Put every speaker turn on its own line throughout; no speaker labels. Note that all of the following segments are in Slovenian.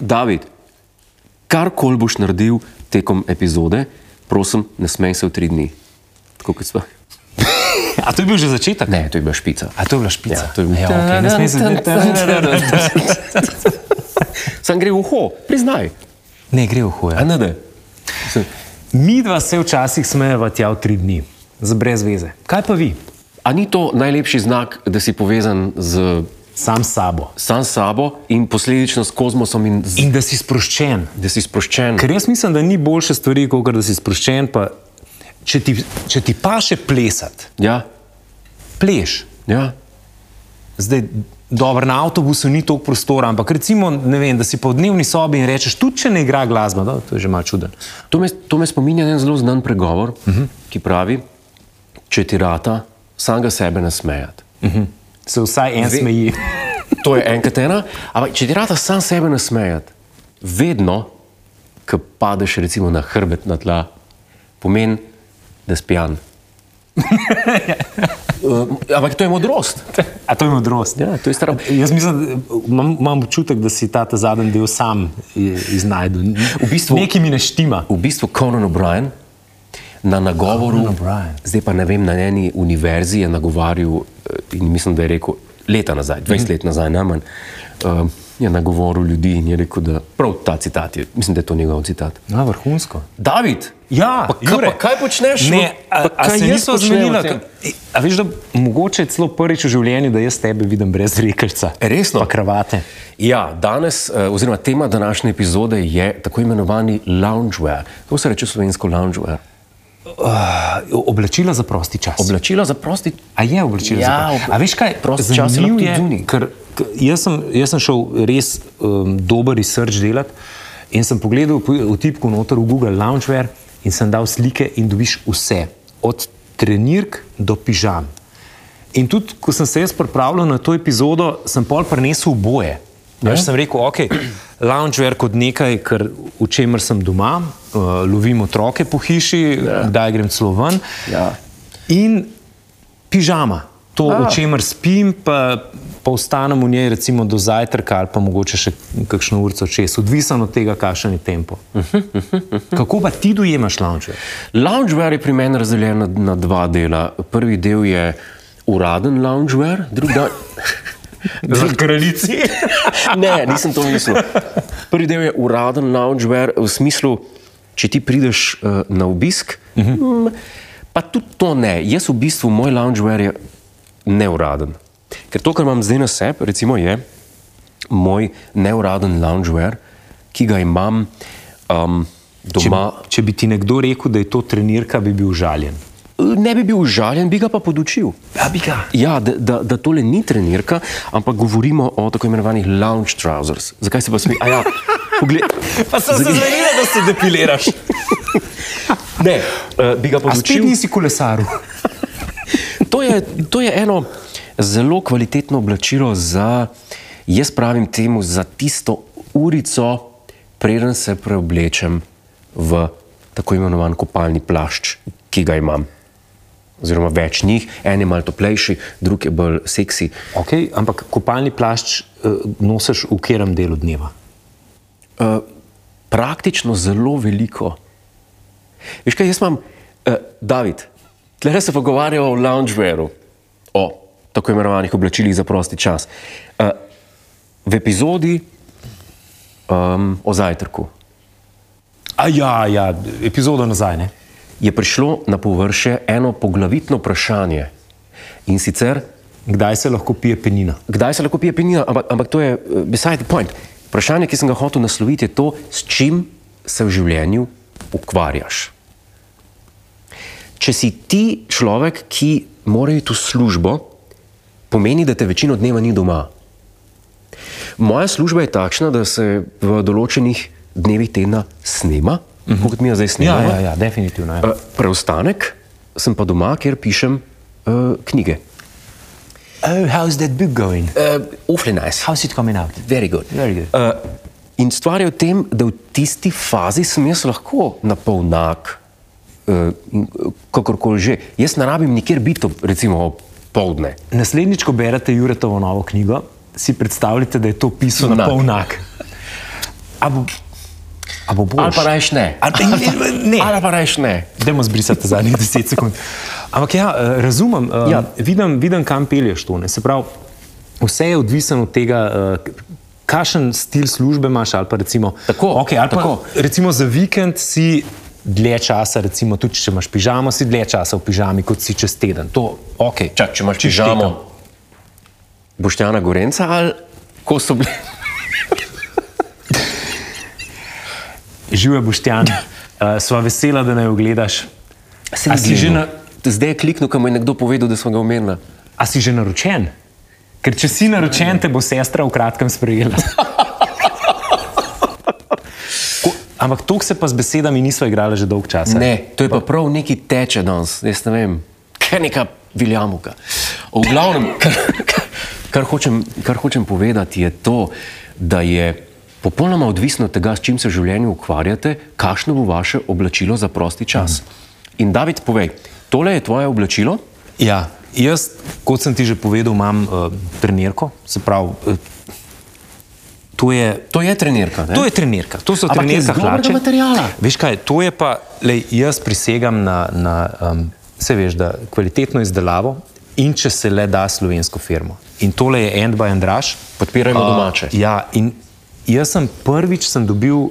David, karkoli boš naredil tekom epizode, prosim, ne smej se v tri dni. Tako kot smo.
A to je bil že začetek?
Ne, to je bila špica.
A to je bila špica?
Ja, to je bil-
ja, okay. Ne smem se
ja.
zdaj.
Sam gre v uho, priznaj.
Ne, gre v hoja.
A ne, ne.
Mi dva se včasih smejeva tja v tri dni, z brez veze. Kaj pa vi?
A ni to najlepši znak, da si povezan z
Sam s sabo.
sam sabo in posledično s kozmosom in, z,
In da si sproščen.
da si sproščen?
Ker jaz mislim, da ni boljše stvari, kot da si sproščen. Pa, če, ti, če ti pa še plesati,
Ja,
pleš.
ja.
Zdaj, dobro, na avtobusu ni toliko prostora, ampak recimo, ne vem, da si po dnevni sobi in rečeš, tudi če ne igra glasba, da, to je že malo čuden.
To, me, to me spominja na en zelo znan pregovor, uh -huh. ki pravi: Če ti rata, samega sebe ne smejati.
Se vsaj en
Ve-
smeji.
To je enkrat ena, ampak če ti rata sam sebe ne smejati, vedno, ko padeš recimo na hrbet na tla, pomeni, da si pijan. Uh, ampak to je modrost.
A to je modrost.
Ja, to je stara.
Jaz mislim, da imam, imam občutek, da si ta, ta zadnji del sam i- iznajdel.
V bistvu-
Nekaj mi ne štima.
V bistvu Conan O'Brien na nagovoru,
Conan O'Brien.
zdaj pa ne vem, na eni univerzi je nagovarjal eh, in mislim, da je rekel leta nazaj, 20 let nazaj najmanj, eh, je nagovoril ljudi in je rekel, da prav ta citat je, mislim, da je to njegov citat.
Na vrhunsko.
David,
Ja,
pa, kaj,
Jure.
pa kaj počneš?
Ne,
v-
a,
pa
a
kaj
se
jaz
niso
počnem v
zmenila.
tem?
ka- E, A veš, da mogoče je celo prvič v življenju, da jaz tebe vidim brez rekelca.
Resno?
Pa kravate.
Ja, danes, eh, oziroma tema današnje epizode je tako imenovani loungewear. Kako se reče slovensko loungewear?
Oblačila za prosti čas.
Oblačila za prosti.
A je oblačilo
Ja,
za prosti
ob-
čas? A veš kaj,
prost čas je
zanimivo
lahko tudi
je,
zunaj.
ker k- jaz sem, jaz sem šel res um, dober research delati in sem pogledal po- v tipku noter v Google Loungewear in sem dal slike in dobiš vse, od trenirk do pižam. In tudi, ko sem se jaz pripravljal na to epizodo, sem pol prenesel oboje. Ja. Sem rekel, ok, loungewear kot nekaj, kar, v čemer sem doma, uh, lovim otroke po hiši, ja. kdaj grem celo ven.
Ja.
In pižama, to,
A.
v čemer spim, pa, pa ostanem v njej recimo do zajtrka ali pa mogoče še kakšno urco čez, odvisen od tega, kakšen je tempo. Kako pa ti dojemaš lounge?
Loungewear je pri meni razdeljen na, na dva dela. Prvi del je uraden loungewear, drugi del.
Za kraljici.
Ne, nisem to mislil. Prvi del je uraden loungewear v smislu, če ti prideš uh, na obisk. Uh -huh. Pa tudi to ne. Jaz v bistvu moj loungewear je neuraden. Ker to, kar imam zdaj na sebi, recimo, je moj neuraden loungewear, ki ga imam um,
če,
doma.
če bi ti nekdo rekel, da je to trenirka, bi bil žaljen.
Ne bi bil užaljen, bi ga pa podučil.
Ja, bi ga.
Ja, da, da, da tole ni trenirka, ampak govorimo o tako imenovanih lounge trousers. Zakaj se pa smeji? Ja, pogled,
Pa sem se zavedal, da se depiliraš.
ne, uh, bi ga
A spet
podučil.
nisi kolesaril.
To je, to je eno zelo kvalitetno oblačilo za, jaz pravim temu, za tisto urico, preden se preoblečem v tako imenovan kopalni plašč, ki ga imam. Oziroma več njih, en je malo toplejši, drug je bolj seksi.
Okay, ampak kopalni plašč uh, nosiš v katerem delu dneva?
Uh, praktično zelo veliko. Veš kaj, jaz imam, uh, David, tleh se pogovarjamo o loungewearu, o tako imenovanih oblačilih za prosti čas. Uh, v epizodi um, o zajtrku
A ja, ja, epizodo nazaj. Ne?
je prišlo na površje eno poglavitno vprašanje in sicer,
Kdaj se lahko pije penina?
kdaj se lahko pije penina, ampak, ampak to je uh, beside the point. Vprašanje, ki sem ga hotel nasloviti, je to, s čim se v življenju ukvarjaš. Če si ti človek, ki mora iti v službo, pomeni, da te večino dneva ni doma. Moja služba je takšna, da se v določenih dnevih tedna snema, uh -huh. kot mi jo zdaj
Ja,
snemamo.
ja, ja definitivno. Ja.
Eh, Preostanek sem pa doma, kjer pišem uh, knjige.
Oh, how's that book going?
Uh, Uflenajs.
How's it coming out?
Very good.
Very good.
Uh, uh, in stvar je v tem, da v tisti fazi sem jaz lahko na pol nag, kakorkoli že. Jaz ne rabim nikjer biti, ob- recimo, ob povdne.
Naslednjič, ko berete Juretovo novo knjigo, si predstavljate, da je to pisal na
Sunak.
polnak. A bo, a bo boš?
Ali pa rajš ne.
Ali pa- ne.
Ali pa rajš ne.
Dajmo zbrisati zadnjih 10 sekund. Ampak ja, eh, razumem, ja.
Ja.
Vidim, vidim, kam pelješ to. Ne. Se pravi, vse je odvisno od tega, eh, kakšen stil službe imaš. Ali pa recimo,
Tako,
okay, ali pa,
tako.
recimo za vikend si dlje časa, recimo, tudi če imaš pižamo, si dlje časa v pižami, kot si čez teden. To, okay.
Čak, če imaš čežamo, boštjana Gorenca ali ko so bili.
Živijo boštjan, uh, sva vesela, da naj ogledaš. A si že na-
Zdaj je kliknil, ko mu je nekdo povedal, da smo ga omenili.
A si že naročen? Ker če si naročen, te bo sestra v kratkem sprejela. Ko, ampak to se pa z besedami nismo igrali že dolg čas.
Ne, to je pa prav neki teče danes, jaz ne vem, kaj neka viljamuka. V glavnem, kar, kar- kar, hočem, kar hočem povedati, je to, da je popolnoma odvisno od tega, s čim se v življenju ukvarjate, kakšno bo vaše oblačilo za prosti čas. In David, povej, tole je tvoje oblačilo,
Ja, jaz, kot sem ti že povedal, imam uh, trenirko, se pravi, uh, to je
to je trenirka. Ne?
To je trenirka, to so
Ampak je iz
trenirka
dobrega
hlače.
materiala.
Veš kaj, to je pa, lej, jaz prisegam na, na um, se veš, da kvalitetno izdelavo in če se le da slovensko firmo. In tole je End by Andraš.
Podpirajmo
A,
domače.
Ja, in jaz sem prvič sem dobil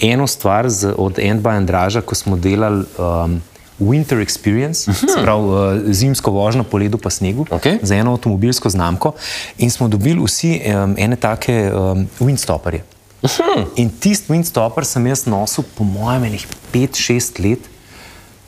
eno stvar z, od End by Andraža, ko smo delali um, Winter Experience, uh -huh. se pravi uh, zimsko vožnjo po ledu pa snegu
Mhm. Okej.
za eno avtomobilsko znamko in smo dobili vsi um, ene take um, windstoperje.
Mhm.
In tisti windstoper sem jaz nosil, po mojem, enih 5-6 let.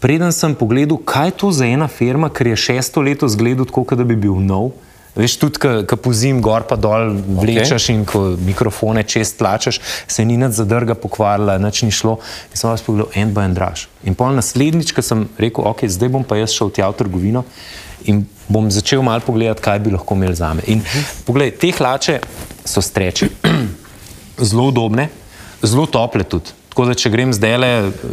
Preden sem pogledal, kaj je to za ena firma, ker je šesto leto zgledal tako, kot da bi bil nov. Veš, tudi, ko pozim gor pa dol vlečeš okay. in ko mikrofone čez tlačeš, se ni nad zadrga pokvarila, nič ni šlo. In sem vas pogledal, en bo en draž. In pol naslednjič, ko sem rekel, ok, zdaj bom pa jaz šel tja v trgovino in bom začel malo pogledati, kaj bi lahko imeli za me. In poglej, te hlače so streči zelo udobne, zelo tople tudi. Tako da, če grem zdaj le,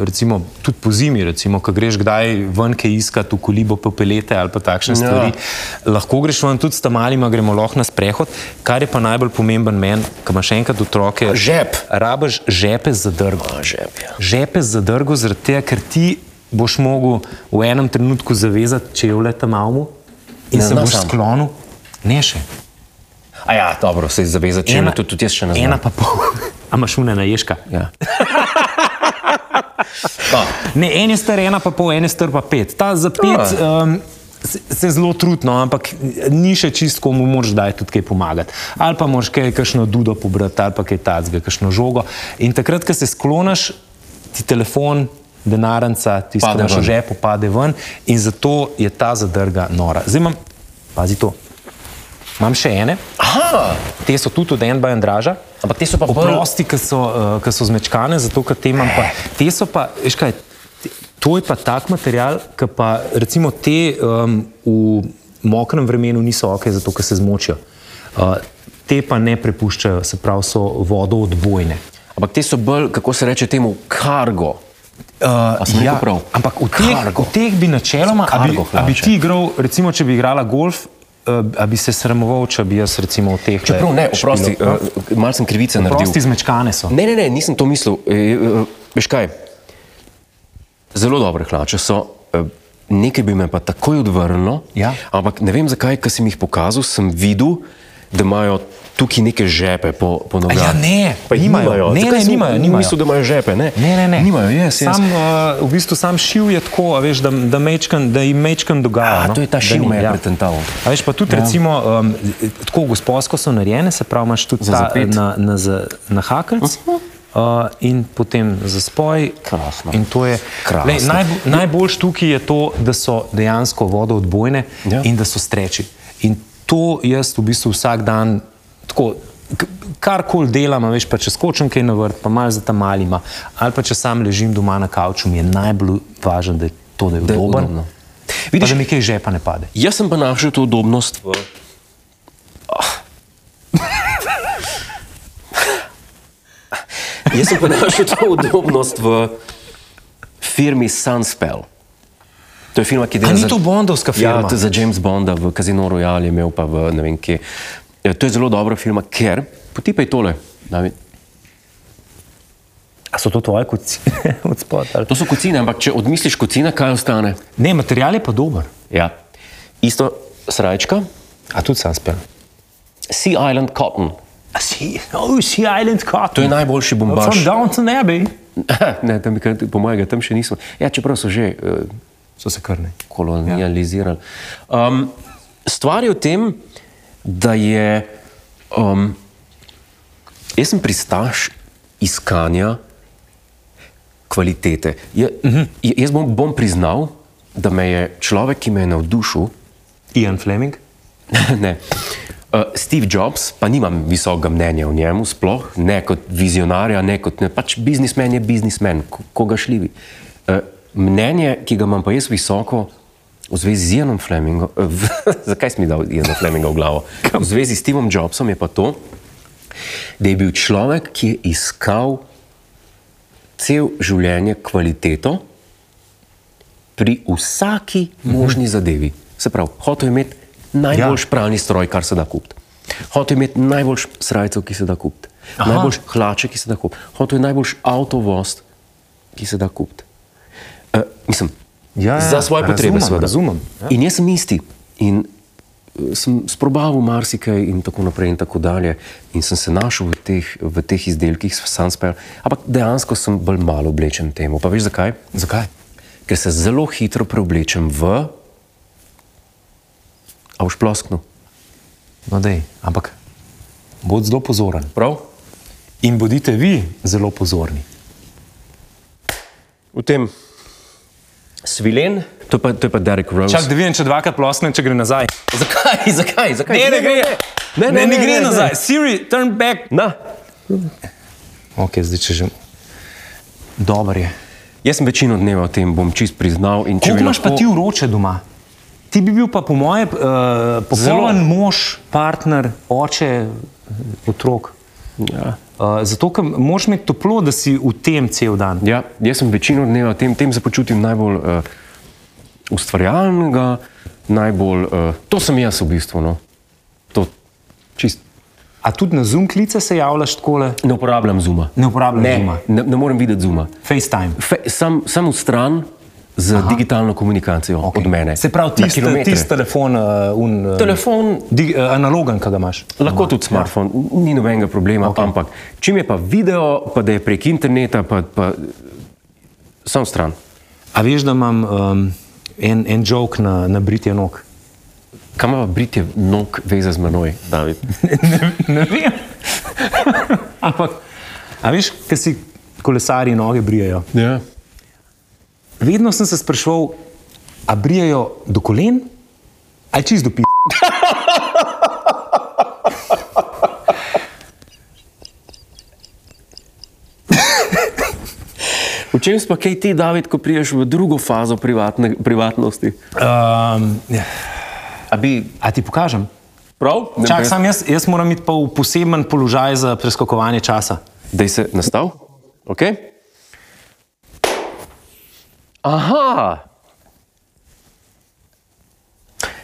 recimo, tudi po zimi, recimo, ko greš kdaj ven, kaj iskati, v kolibo popelete ali pa takšne
Ja.
ja. stvari, lahko greš ven tudi s tamalima, gremo lahko na sprehod. Kar je pa najbolj pomemben meni, ko imaš enkrat otroke,
Žep.
rabaš žepe za drgo.
A, žep, ja.
Žepe za drgo, zaradi tega, ker ti boš mogel v enem trenutku zavezati čevlje tam avmu in
Ne,
se
ne
boš
sam.
sklonil, ne še.
A ja, dobro, se zavezati, če ne, to tudi jaz še ne znam.
Ena pa pol. A imaš une naješka?
Ja. Pa,
Ne, en je star ena, pa pol, en je star pa pet. Ta za pet
Ja.
um, se, se zelo trudno, ampak eh, ni še čist, komu moraš daj tudi kaj pomagati. Ali pa moraš kaj, kakšno dudo pobrati, ali pa kaj tacga, kakšno žogo. In takrat, ko se sklonaš, ti telefon, denarnica, ti
Pade
sklonaš v
ven.
žepu, pade ven in zato je ta zadrga nora. Zdaj imam, pazi to, imam še ene,
aha,
te so tudi od Enba in Draža.
ampak te so pa bolj-
Oprosti, ki so, eh, ki so zmečkane, zato ker te imam pa. Te so pa, veš kaj, te- to je pa tak material, ki pa recimo te um, v mokrem vremenu niso ok, zato ker se zmočijo. Uh, te pa ne prepuščajo, se pravi, so vodoodbojne.
Ampak te so bolj, kako se reče temu, kargo.
Uh,
sem rekel prav?
ampak v teh,
Cargo.
v teh bi načeloma, a bi,
Cargo
a bi
hlače.
ti igral, recimo, če bi igrala golf, uh, a bi se sramoval, če bi jaz recimo v teh.
Čeprav ne, oprosti,
uh,
eh, malo sem krivice naredil.
prosti zmečkane so.
Ne, ne, ne, nisem to mislil. E, e, veš kaj, zelo dobre hlače so. E, nekaj bi me pa takoj odvrnilo,
Ja.
ampak ne vem zakaj, ker sem jih pokazal, sem videl, da imajo tukaj neke žepe po, po nogah.
Ja, ne,
pa jih
nimajo.
nimajo.
Ne,
Zakaj
ne,
sem
nimajo, nimajo.
Mislil, da imajo žepe, ne?
Ne, ne, ne.
Nimajo, jaz, jaz.
Sam, uh, v bistvu sam šil je tako, a veš, da, da, mečken, da jim mečkam
A,
dogaja. no?
to je ta
Da
šil
ni,
me je pretental.
A veš, pa tudi ja. recimo, um, tako gospodsko so narejene, se pravi, imaš tudi
Za
ta,
zapet.
na, na, za- na hakelc. Uh -huh. Uh, in potem za spoj.
Krasno.
In to je
Krasno.
Lej, najbo, najboljš tukaj je to, da so dejansko vodoodbojne ja.
Ja.
in da so streči. In to jaz v bistvu vsak dan tako. k- Karkoli delam, a veš, pa če skočim kaj na vrt, pa malo za tam malima, ali pa če sam ležim doma na kavču, mi je najbolj važno, da je to, da je
Da je
udobno.
udobno.
Vidiš, da mi kaj iz žepa ne pade.
Jaz sem pa našel to udobnost v. Ah. Jaz sem pa našel to udobnost v firmi Sunspell. To je firma, ki
A
dela
ni to bondovska firma?
Ja, to je za James Bonda v Casino Royale je imel pa v ne vem kje. Ja, To je zelo dobra firma, ker potipaj tole. David.
A so to tvoje kocine od spodaj?
To so kocine, ampak če odmisliš kocina, kaj ostane?
Ne, material je pa dober.
Ja. Isto srajčka,
A tudi sam spem.
Sea Island Cotton.
Si, oh, si Island
To
Cotton.
je najboljši bombaž.
From Downton Abbey.
ne, tam, kar- po mojem, ga tam še nismo. Ja, čeprav so že uh,
So se krne.
kolonializirali. Um, stvar je v tem, da je. Um, jaz sem pristaš iskanja kvalitete. Je, uh -huh. Jaz bom, bom priznal, da me je človek, ki me je navdušil,
Ian Fleming.
ne. Uh, Steve Jobs, pa nimam visokega mnenja o njemu, sploh ne kot vizionarja, ne kot ne. Pač biznismen je biznismen, ko, ko ga šljivi. Uh, mnenje, ki ga imam pa jaz visoko v zvezi z Janom Flemingom, uh, zakaj sem mi dal Jana Fleminga v glavo? V zvezi s Stevom Jobsom je pa to, da je bil človek, ki je iskal cel življenje kvaliteto pri vsaki možni zadevi. Se pravi, hotel je imeti najboljši ja. pralni stroj, kar se da kupiti. Hotel je imeti najboljši srajco, ki se da kupiti. Najboljši hlače, ki se da kupiti. Hotel je najboljši avtovoz, ki se da kupiti. Uh, mislim,
Ja, ja,
za svoje potrebe,
razumem,
seveda.
razumem, ja.
In jaz sem isti. In eh, sem sprobaval marsikaj, in tako naprej, in tako dalje. In sem se našel v teh, v teh izdelkih, sanspel, ampak dejansko sem bolj malo oblečen temu. Pa veš zakaj?
Zakaj?
ker se zelo hitro preoblečem v. A boš plosknil?
No, dej, ampak bodite zelo pozoren.
Prav?
In bodite vi zelo pozorni.
V tem. Svilen, to je pa, to je pa Derek Rose.
Čak, da vidim, če dvakrat ploskne, če gre nazaj.
zakaj, zakaj, zakaj?
Ne, ne gre.
Ne, ne,
ne,
ne,
ne
ne,
gre
ne.
nazaj. Siri, turn back.
Na,
Ok, zdaj če že. Dober je.
jaz sem večino dneva o tem, bom čist priznal. in če
Koliko
bi
imaš pa
lahko-
ti uroče doma? Ti bi bil pa po moje uh, popoln mož, partner, oče eh, otrok.
Ja.
Uh, zato, ker moraš imeti toplo, da si v tem cel dan.
Ja, jaz sem večino dneva tem, tem se počutim najbolj uh, ustvarjalnega, najbolj. Uh, to sem jaz v bistvu. No. To čist.
A tudi na zum klice se javljaš tako,
Ne uporabljam zuma.
ne uporabljam zuma.
Ne, ne, ne morem videti zuma.
FaceTime.
Fe, sam, sam v stran z Aha. digitalno komunikacijo okay. od mene.
Se pravi,
Na
tisti
kilometre.
tis telefon, uh, un, uh,
Telefon,
dig, uh, analogen, ki ga imaš.
lahko tudi smartphone, ja. ni nobenega problema, okay. ampak čim je pa video, pa da je prek interneta, pa, pa sam stran.
A veš, da imam um, en, en jok na, na britje nog?
Kam ima britje nog veze z menoj, David?
ne vem. Ampak, a veš, ker si kolesari noge brijejo.
Ja.
Vedno sem se spraševal, a brijejo do kolen ali čist do pi.
V čem si pa kaj ti, David, ko priješ v drugo fazo privatne, privatnosti?
Um, ja.
A bi
a ti pokažem?
prav? Ne
Čak,
vem.
sam jaz, jaz moram iti pa v poseben položaj za preskakovanje časa.
Dej se nastav. Okay. Aha.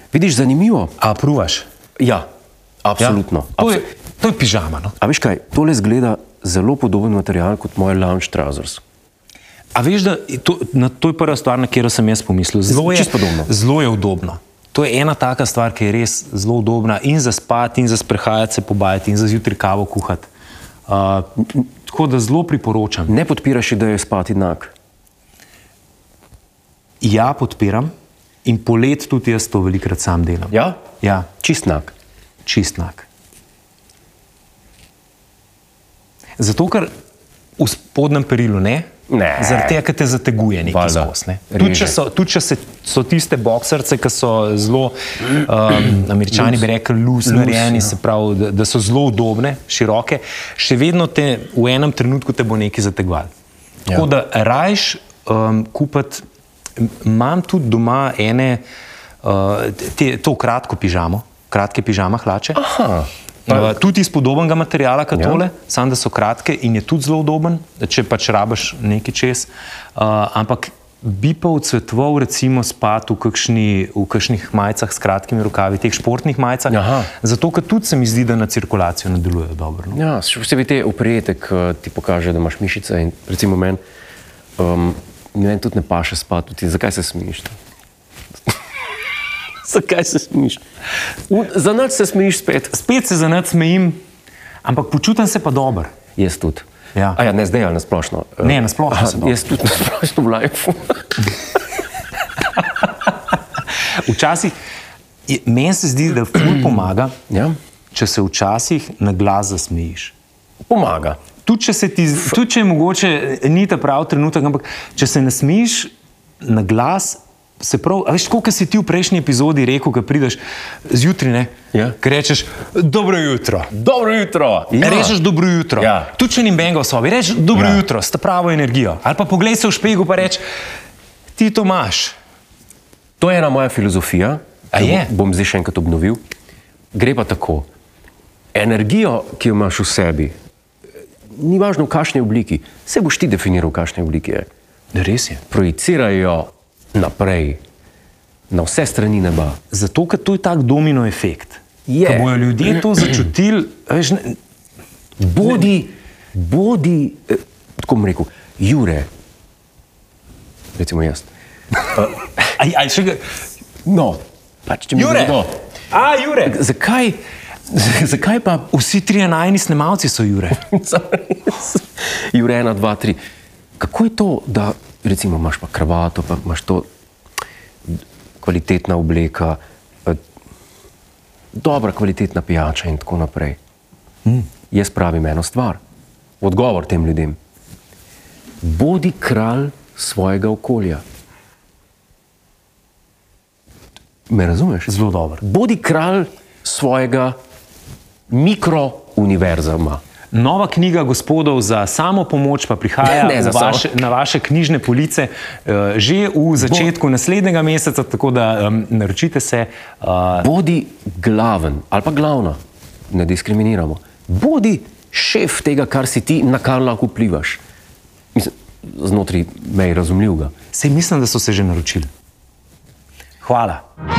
Vidiš, zanimivo.
A pruvaš?
Ja, absolutno.
Ja. To
Abs
je, to je pižama. No.
A veš kaj, tole zgleda zelo podoben material kot moj lounge trousers.
A veš, da je to, na, to je prva stvar, na katero sem jaz pomislil. Zelo je,
Čisto podobno.
zelo je udobno. To je ena taka stvar, ki je res zelo udobna in za spati, in za sprehajati se pobajati, in za zjutraj kavo kuhati. Uh, tako da zelo priporočam.
Ne podpiraš ideje spati enak.
Ja, podpiram in polet tudi jaz to velikrat sam delam.
Ja?
ja
Čist enak.
čistnak. Zato, ker v spodnjem perilu ne,
Ne.
zaradi tega, ker te zateguje nekaj
Valjda.
skozi. Ne. Tudi če,
Reže.
so, tudi če se, so tiste boksarce, ki so zelo, um, američani bi rekli, loose, ja. narejeni, se pravi, da, da so zelo udobne, široke, še vedno te v enem trenutku te bo nekaj zategovalo. Tako da rajš um, kupiti, m- imam tudi doma ene, uh, te, to kratko pižamo, kratke pižama hlače.
Aha.
Uh, tudi iz podobnega materiala kot tole, samo da so kratke in je tudi zelo udoben, če pač rabiš nekaj čez. Uh, ampak bi pa odsvetoval, recimo, spati v, kakšni, v kakšnih majicah s kratkimi rokavi, teh športnih majicah.
Aha.
Zato, ker tudi se mi zdi, da na cirkulacijo ne delujejo dobro. No.
Ja, še posebej te oprijete, ki ti pokaže, da imaš mišice in recimo meni, um, meni tudi ne paše spati. Ti, zakaj se smejiš? zakaj se smejiš? U, Za noč se smejiš spet.
Spet se za nas smejim, ampak počutim se pa dobro.
Jaz tudi.
Ja.
A ja, ne zdaj, ali nasplošno.
Ne, na splošno
Aha,
se dobro.
Jaz tudi nasplošno v lajfu.
Včasih je- meni se zdi, da ful pomaga,
ja.
če se včasih na glas zasmejiš.
Pomaga.
Tudi če, se ti, tudi če je mogoče ni ta pravi trenutek, ampak če se nasmejiš na glas, se prav, a veš, kot si ti v prejšnji epizodi rekel, ko prideš zjutraj, ne?
Ja.
Ker rečeš, dobro jutro.
Dobro jutro.
Ja. Rečeš dobro jutro.
Ja.
Tudi če ni benga v sobi, rečeš dobro
Ja.
ja. jutro, s ta pravo energijo. Ali pa poglej se v špegu in reči, ti to imaš.
To je ena moja filozofija,
A
ki jo
je?
bom zdaj še enkrat obnovil. Gre pa tako. Energijo, ki jo imaš v sebi, ni važno v kakšni obliki, se boš ti definiral, v kakšni obliki je.
Res je.
Projicirajo jo naprej, na vse strani neba.
Zato, ker to je tak domino efekt.
Je.
Ko bojo ljudje to začutili, a veš, ne,
Bodi, bodi, eh, tako bom rekel, Jure, recimo jaz.
aj, aj še ga.
No, pač če mi
Jure!
kdo.
A, Jure!
Zakaj, zakaj pa
Vsi trije najni snemalci so Jure.
Jure, ena, dva, tri. Kako je to, da recimo, imaš pa kravato, pa imaš to kvalitetna obleka, eh, dobra kvalitetna pijača in tako naprej? Mm. Jaz pravim eno stvar, odgovor tem ljudem. Bodi kralj svojega okolja. Me razumeš?
Zelo dobro.
Bodi kralj svojega mikrouniverzuma.
Nova knjiga gospodov za samo pomoč pa prihaja
Ne,
v
za samo.
vaše, na vaše knjižne police eh, že v začetku naslednjega meseca, tako da um, naročite se. Uh,
Bodi glaven ali pa glavna, ne diskriminiramo. Bodi šef tega, kar si ti, na kar lahko vplivaš. Mislim, znotraj mej razumljivega.
sej mislim, da so se že naročili. Hvala.